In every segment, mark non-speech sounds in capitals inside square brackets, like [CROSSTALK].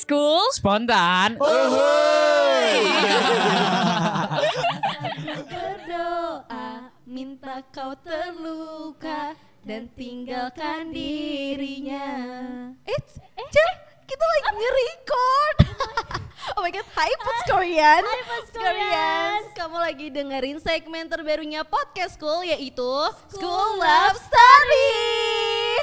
school. Spontan. Berdoa minta kau terluka dan tinggalkan dirinya. It's Cil, kita lagi nge-record. oh my god, hi Puts Korean. Hai, Puts Kamu lagi dengerin segmen terbarunya podcast school yaitu School, School Love Love Story.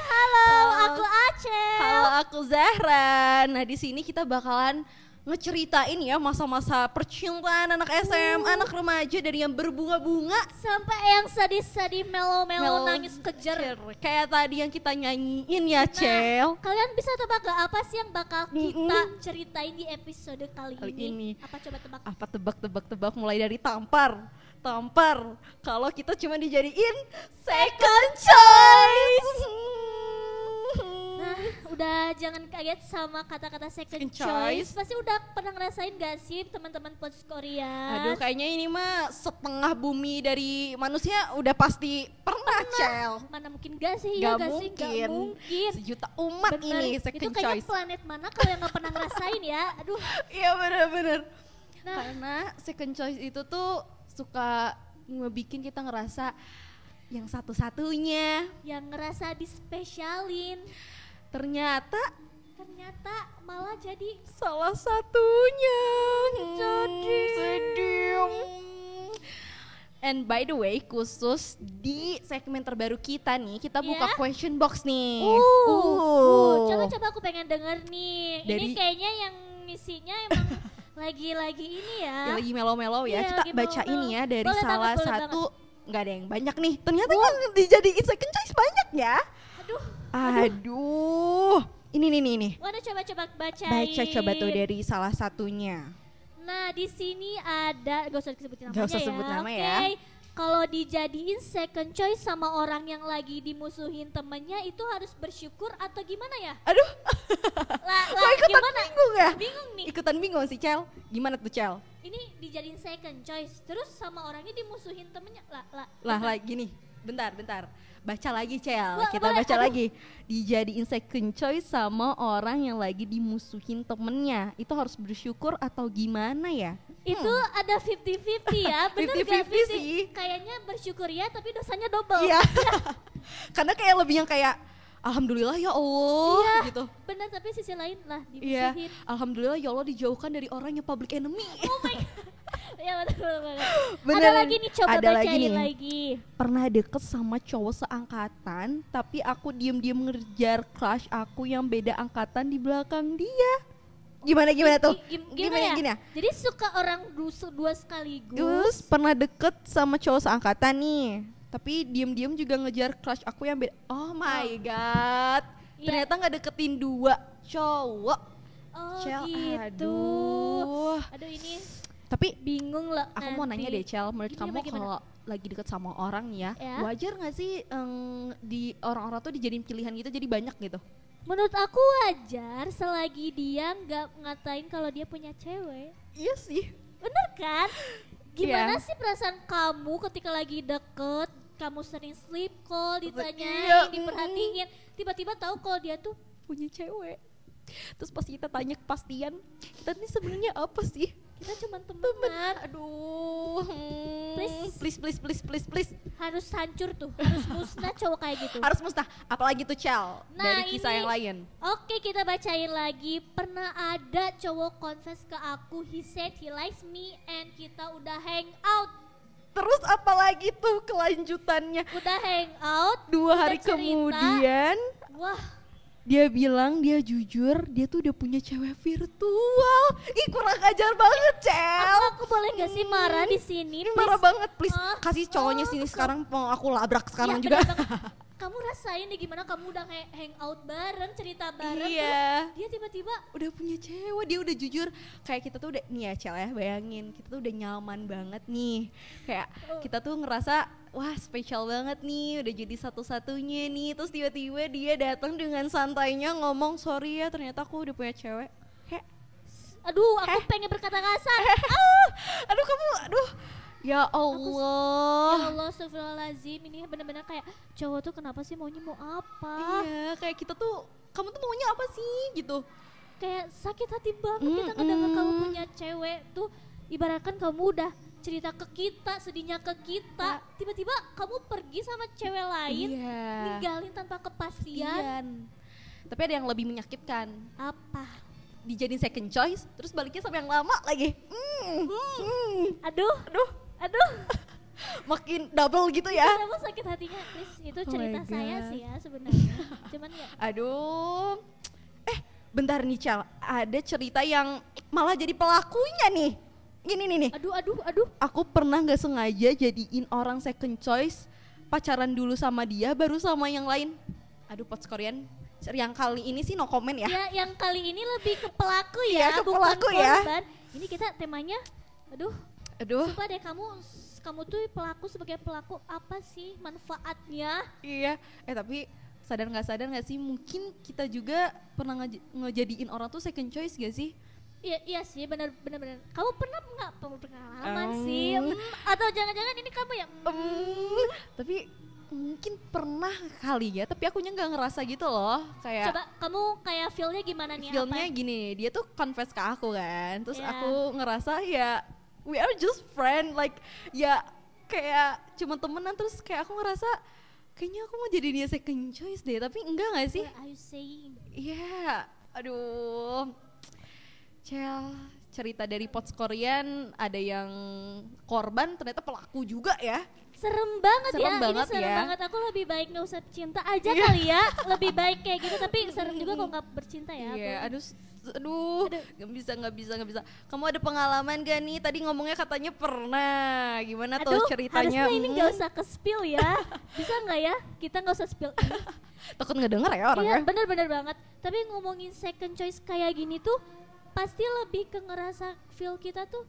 Halo, aku Acel. Halo, aku Zahra. Nah, di sini kita bakalan ngeceritain ya masa-masa percintaan anak SMA, anak remaja dari yang berbunga-bunga Sampai yang sedih-sedih melo-melo nangis iya. kejer. Kayak tadi yang kita nyanyiin ya, Cel. Nah, kalian bisa tebak gak apa sih yang bakal kita Mm-mm. ceritain di episode kali Kali ini. ini? Apa coba tebak? Apa tebak-tebak-tebak mulai dari tampar. Tampar. Kalau kita cuma dijadiin second choice. Nah, udah jangan kaget sama kata-kata Second second, choice. choice. Pasti udah pernah ngerasain gak sih teman-teman Pods Korea? Aduh, kayaknya ini mah setengah bumi dari manusia udah pasti pernah, Cel. Mana mungkin gak Gak sih? Iya gak sih? Gak mungkin. mungkin. Sejuta umat Bener. ini Itu second kayaknya choice. planet mana kalau yang gak pernah ngerasain ya? [LAUGHS] Aduh. Iya bener-bener. Nah. Karena second choice itu tuh suka ngebikin kita ngerasa yang satu-satunya yang ngerasa dispesialin ternyata ternyata malah jadi salah satunya. Sedih. Hmm, Sedih. And by the way, khusus di segmen terbaru kita nih, kita buka Iya. question box nih. uh, uh, Uh. coba-coba aku pengen denger nih ini Gitu. Dari- kayaknya yang isinya [LAUGHS] emang lagi-lagi ini Ya, ya lagi melo-melo ya. Iya, kita lagi bacain melo-melo. ya dari Boleh banget, salah boleh satu nggak ada yang banyak nih. Ternyata yang dijadiin second choice banyak ya. aduh Aduh. Ini nih nih nih. Waduh coba-coba bacain Baca coba tuh dari salah satunya. nah di sini ada gak usah sebutin namanya Gak usah ya sebut nama Oke. ya. kalau dijadiin second choice sama orang yang lagi dimusuhin temennya itu harus bersyukur atau gimana ya? [LAUGHS] Aduh, Lah, kok lah, ikutan gimana? bingung ya? Bingung nih. Ikutan bingung sih, Cel. Gimana tuh, Cel? ini dijadiin second choice terus sama orangnya dimusuhin temennya lah lah Lah, lagi nih. Bentar, bentar. Baca lagi, Cel. Bo- Kita boleh, baca aduh. lagi. Dijadiin second choice sama orang yang lagi dimusuhin temennya. Itu harus bersyukur atau gimana ya? itu ada [LAUGHS] 50-50 ya bener gak 50-50 sih. kayaknya bersyukur ya tapi dosanya double Iya. [LAUGHS] Karena kayak lebih yang kayak alhamdulillah ya Allah Iya. gitu. bener tapi sisi lain lah Iya. [LAUGHS] dimusuhin Alhamdulillah ya Allah dijauhkan dari orang yang public enemy. ya betul banget ada Beneran. lagi nih coba Ada lagi bacain nih. lagi, [LAUGHS] Pernah deket sama cowok seangkatan, tapi aku diem-diem ngejar crush aku yang beda angkatan di belakang dia. Gimana gimana tuh? Gi- gim- Gimana ya? gini ya? jadi suka orang dus- dua sekaligus Gus pernah deket sama cowok seangkatan nih, tapi diem-diem juga ngejar crush aku yang beda. Oh my god. Iya. Ternyata nggak deketin dua cowok. oh Cel, gitu aduh. aduh ini Tapi bingung loh aku mau nanya deh nanti. Cel, menurut Gimana, kamu gimana? kalau lagi deket sama orang nih ya, Ya. wajar nggak sih em, di orang-orang tuh dijadiin pilihan gitu jadi banyak gitu? Menurut aku wajar selagi dia nggak ngatain kalau dia punya cewek. Iya sih. Bener kan? Gimana Iya. sih perasaan kamu ketika lagi deket, kamu sering sleep call, ditanyain, Iya, mm. diperhatiin, tiba-tiba tahu kalau dia tuh Punya cewek. Terus pas kita tanya kepastian, kita nih sebenarnya apa sih? kita cuma temenan, Aduh. hmm, Please. please, please, please, please, please. harus hancur tuh, harus musnah cowok kayak gitu. Harus mustah. Apalagi tuh Cel Nah, dari kisah ini- yang lain. Oke kita bacain lagi Pernah ada cowok confess ke aku He said he likes me And kita udah hang out Terus apalagi tuh kelanjutannya? Udah hang out Dua udah hari cerita. kemudian, Wah dia bilang dia jujur dia tuh udah punya cewek virtual ih kurang ajar banget cel Aku, aku boleh nggak sih marah di ini sini? please? marah banget please Ah, kasih cowoknya ah, sini kesel. sekarang mau aku labrak sekarang Ya, juga bener banget. Kamu rasain deh gimana kamu udah he- hang out bareng, cerita bareng. iya terus Dia tiba-tiba [LAUGHS] udah punya cewek dia udah jujur kayak kita tuh udah nih ya cel ya bayangin kita tuh udah nyaman banget nih kayak Oh. kita tuh ngerasa wah spesial banget nih udah jadi satu-satunya nih terus tiba-tiba dia datang dengan santainya ngomong sorry ya ternyata aku udah punya cewek kayak aduh aku Eh. pengen berkata kasar. Ah, aduh kamu, aduh. Ya Allah. Ya Allah, astagfirullahaladzim. Ini bener-bener kayak cowok tuh kenapa sih maunya mau apa? Iya, kayak kita tuh, kamu tuh maunya apa sih gitu? kayak sakit hati Mm, banget kita ngedenger kamu mm. punya cewek tuh ibaratkan kamu udah cerita ke kita sedihnya ke Ah. kita tiba-tiba kamu pergi sama cewek lain Iya. ninggalin tanpa kepastian Kasian. Tapi ada yang lebih menyakitkan. apa Dijadiin second choice, terus baliknya sama yang lama lagi. Hmm, hmm. aduh aduh aduh Makin double gitu ya. kamu sakit hatinya Chris itu Oh my cerita saya God. sih ya sebenarnya cuman ya Aduh. Eh, bentar nih Cal, ada cerita yang malah jadi pelakunya nih. Gini nih nih. aduh aduh aduh Aku pernah nggak sengaja jadiin orang second choice pacaran dulu sama dia baru sama yang lain. Aduh, pot Korean. Yang kali ini sih no comment ya. ya yang kali ini lebih ke pelaku Iya, ya, ke bukan pelaku ya. Uh. korban. Ini kita temanya, aduh, Aduh. sumpah deh kamu, kamu tuh pelaku sebagai pelaku apa sih manfaatnya? Iya, eh tapi sadar nggak sadar nggak sih mungkin kita juga pernah ngeja- ngejadiin orang tuh second choice gak sih? Iya, iya sih, benar benar benar. Kamu pernah nggak pem- pengalaman Em. sih? Hmm, Atau jangan-jangan ini kamu ya? hmm, Hmm, tapi mungkin pernah kali ya, tapi akunya nggak ngerasa gitu loh kayak Coba kamu kayak feel-nya gimana nih? filmnya apa? gini, dia tuh confess ke aku kan, terus Iya. aku ngerasa ya we are just friend like ya kayak cuma temenan terus kayak aku ngerasa kayaknya aku mau jadi dia second choice deh, tapi enggak nggak sih? What are you saying? Iya, aduh. Cel, cerita dari Pots Korean ada yang korban ternyata pelaku juga ya. Serem banget Serem ya, banget ini serem ya. Iya. banget. Aku lebih baik nggak usah cinta aja kali ya, lebih baik kayak gitu. Tapi serem juga kalau nggak bercinta Iya, ya. aku- aduh, s- aduh, Aduh. nggak bisa, nggak bisa, nggak bisa. Kamu ada pengalaman gak nih? Tadi ngomongnya katanya pernah. Gimana tuh ceritanya? harusnya ini Hmm, nggak usah ke spill ya. Bisa nggak ya? Kita nggak usah spill. ini. Takut nggak denger ya Iya, orangnya? bener-bener banget. Tapi ngomongin second choice kayak gini tuh, pasti lebih ke ngerasa feel kita tuh,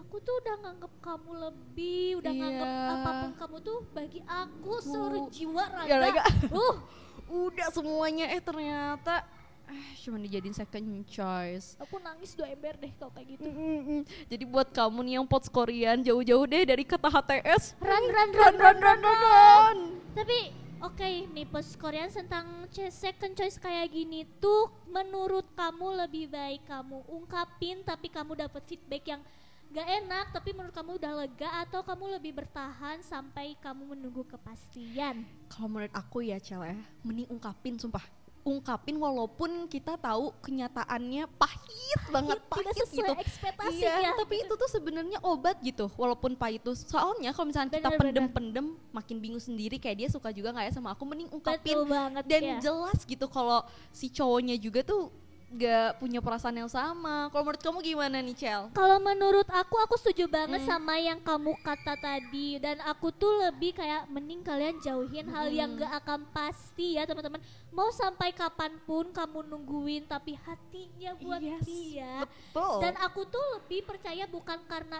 aku tuh udah nganggep kamu lebih, udah Iya. nganggep apapun kamu tuh bagi aku seluruh Uh, jiwa raga. ya, raga. [LAUGHS] Uh, Udah semuanya, eh ternyata eh, cuma dijadiin second choice. aku nangis dua ember deh kalau kayak gitu. Mm, mm, mm. Jadi buat kamu nih yang pots Korean jauh-jauh deh dari kata HTS. Run, run, Run run run run run. Tapi oke nih post Korean tentang c- second choice kayak gini tuh menurut kamu lebih baik kamu ungkapin tapi kamu dapat feedback yang gak enak tapi menurut kamu udah lega atau kamu lebih bertahan sampai kamu menunggu kepastian. Kalau menurut aku ya Cel ya, mending ungkapin sumpah. Ungkapin walaupun kita tahu kenyataannya pahit banget, Tidak pahit sesuai gitu. ekspektasi ya. Iya, tapi itu tuh sebenarnya obat gitu, walaupun pahit tuh. Soalnya kalau misalnya kita Bener, bener. pendem-pendem, makin bingung sendiri kayak dia suka juga nggak ya sama aku, mending ungkapin. betul banget dan ya. jelas gitu kalau si cowoknya juga tuh gak punya perasaan yang sama. Kalau menurut kamu gimana nih Cel? Kalau menurut aku, aku setuju banget Mm. sama yang kamu kata tadi Dan aku tuh lebih kayak mending kalian jauhin hal yang Mm. gak akan pasti ya teman-teman Mau sampai kapanpun kamu nungguin tapi hatinya buat Yes, dia Iya, Betul. Dan aku tuh lebih percaya bukan karena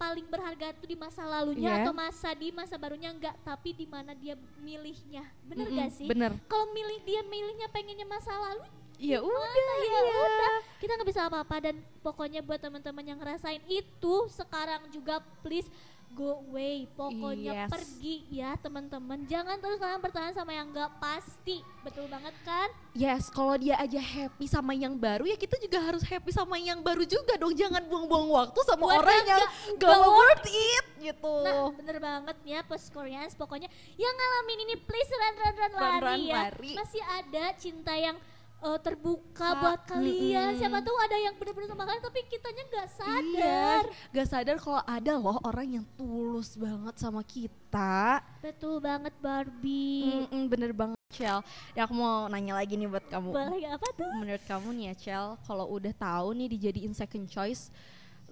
paling berharga tuh di masa lalunya Iya. atau masa di masa barunya enggak Tapi di mana dia milihnya, bener Mm-mm, gak sih? Bener. Kalau milih dia milihnya pengennya masa lalu Ya udah, ya udah kita nggak bisa apa-apa dan pokoknya buat teman-teman yang ngerasain itu sekarang juga please go away pokoknya Yes. pergi ya teman-teman jangan terus kalian bertahan sama yang nggak pasti betul banget kan Yes, kalau dia aja happy sama yang baru ya kita juga harus happy sama yang baru juga dong. Jangan buang-buang waktu sama Buat orang yang yang nggak- gak nggak worth it gitu. nah bener banget ya post Koreans pokoknya yang ngalamin ini please run run run lari Run, run, ya lari. masih ada cinta yang eh, terbuka Kak, buat kalian mm-mm. siapa tahu ada yang bener-bener sama kalian tapi kitanya nggak sadar Iya, gak sadar kalau ada loh orang yang tulus banget sama kita. betul banget Barbie Mm-mm, bener banget, Cel. Ya aku mau nanya lagi nih buat kamu. boleh apa tuh Menurut kamu nih ya, Cel, kalau udah tahu nih dijadiin second choice,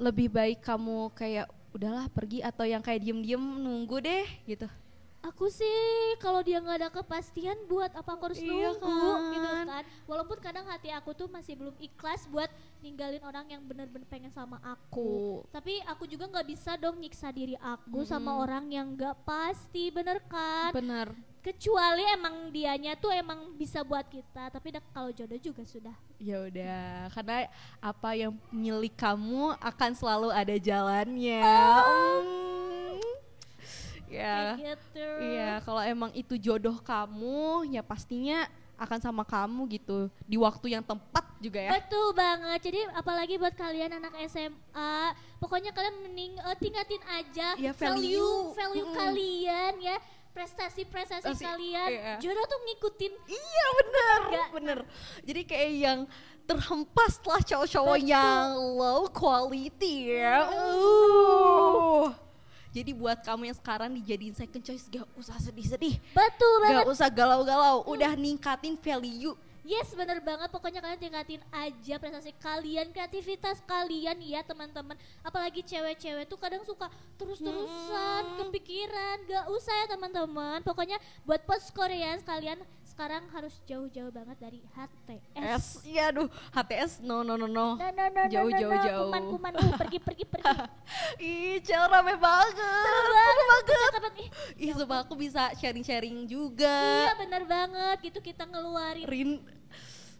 lebih baik kamu kayak udahlah pergi atau yang kayak diem-diem nunggu deh gitu. aku sih kalau dia nggak ada kepastian buat apa aku harus Iya nunggu kan? gitu kan walaupun kadang hati aku tuh masih belum ikhlas buat ninggalin orang yang bener-bener pengen sama aku Aku tapi aku juga nggak bisa dong nyiksa diri aku sama Mm-mm. orang yang nggak pasti bener kan bener kecuali emang dianya tuh emang bisa buat kita tapi dah- kalau jodoh juga sudah ya udah karena apa yang milik kamu akan selalu ada jalannya Mm. ya kayak gitu iya kalau emang itu jodoh kamu ya pastinya akan sama kamu gitu di waktu yang tempat juga ya. Betul banget. Jadi apalagi buat kalian anak SMA, pokoknya kalian mending eh, tingkatin aja Iya, value. value value Mm-mm. kalian ya, prestasi-prestasi Pasti, kalian. iya. Jodoh tuh ngikutin Iya bener, Enggak. bener. Jadi kayak yang terhempas lah cowok-cowok Betul. yang low quality ya. Uh. Jadi buat kamu yang sekarang dijadiin second choice gak usah sedih-sedih. Betul Gak banget. usah galau-galau, udah ningkatin value. Yes, bener banget. Pokoknya kalian tingkatin aja prestasi kalian, kreativitas kalian ya teman-teman. Apalagi cewek-cewek tuh kadang suka terus-terusan kepikiran. Gak usah ya teman-teman. Pokoknya buat post Korea kalian sekarang harus jauh-jauh banget dari HTS. S, ya aduh, HTS no no no no. No, no, no, no, Jauh, no, jauh, no. jauh. Kuman, kuman, uh, pergi, pergi, [LAUGHS] pergi. Ih, Cel rame banget. Seru Percakapan, ih, Ih, coba aku bisa sharing-sharing juga. iya bener banget. Gitu kita ngeluarin Rin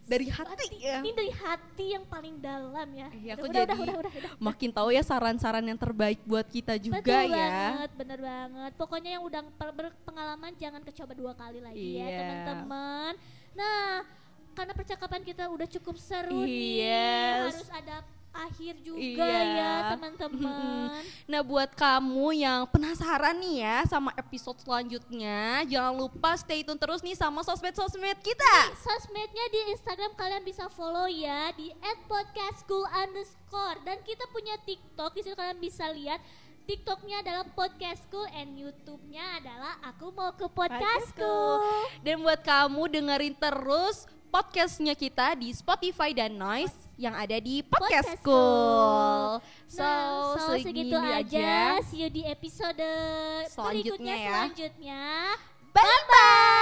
dari hati ya. ini dari hati yang paling dalam ya. Iya, aku udah, jadi udah, udah, udah, udah. makin tahu ya saran-saran yang terbaik buat kita juga Betul ya. banget, bener banget. Pokoknya yang udah per- berpengalaman jangan kecoba dua kali lagi Iya. ya teman-teman. Nah, karena percakapan kita udah cukup seru Yes. nih, harus ada akhir juga Iya. ya teman-teman. Nah, buat kamu yang penasaran nih ya sama episode selanjutnya, jangan lupa stay tune terus nih sama sosmed-sosmed kita. Sosmednya di Instagram kalian bisa follow ya di @podcastschool underscore dan kita punya TikTok di situ kalian bisa lihat TikToknya adalah podcast school and YouTube-nya adalah aku mau ke podcast school. Dan buat kamu dengerin terus podcastnya kita di Spotify dan Noise yang ada di Podcast Podcast School. School. Nah, so, segitu aja. See you di episode Selanjutnya berikutnya ya. selanjutnya. Bye-bye.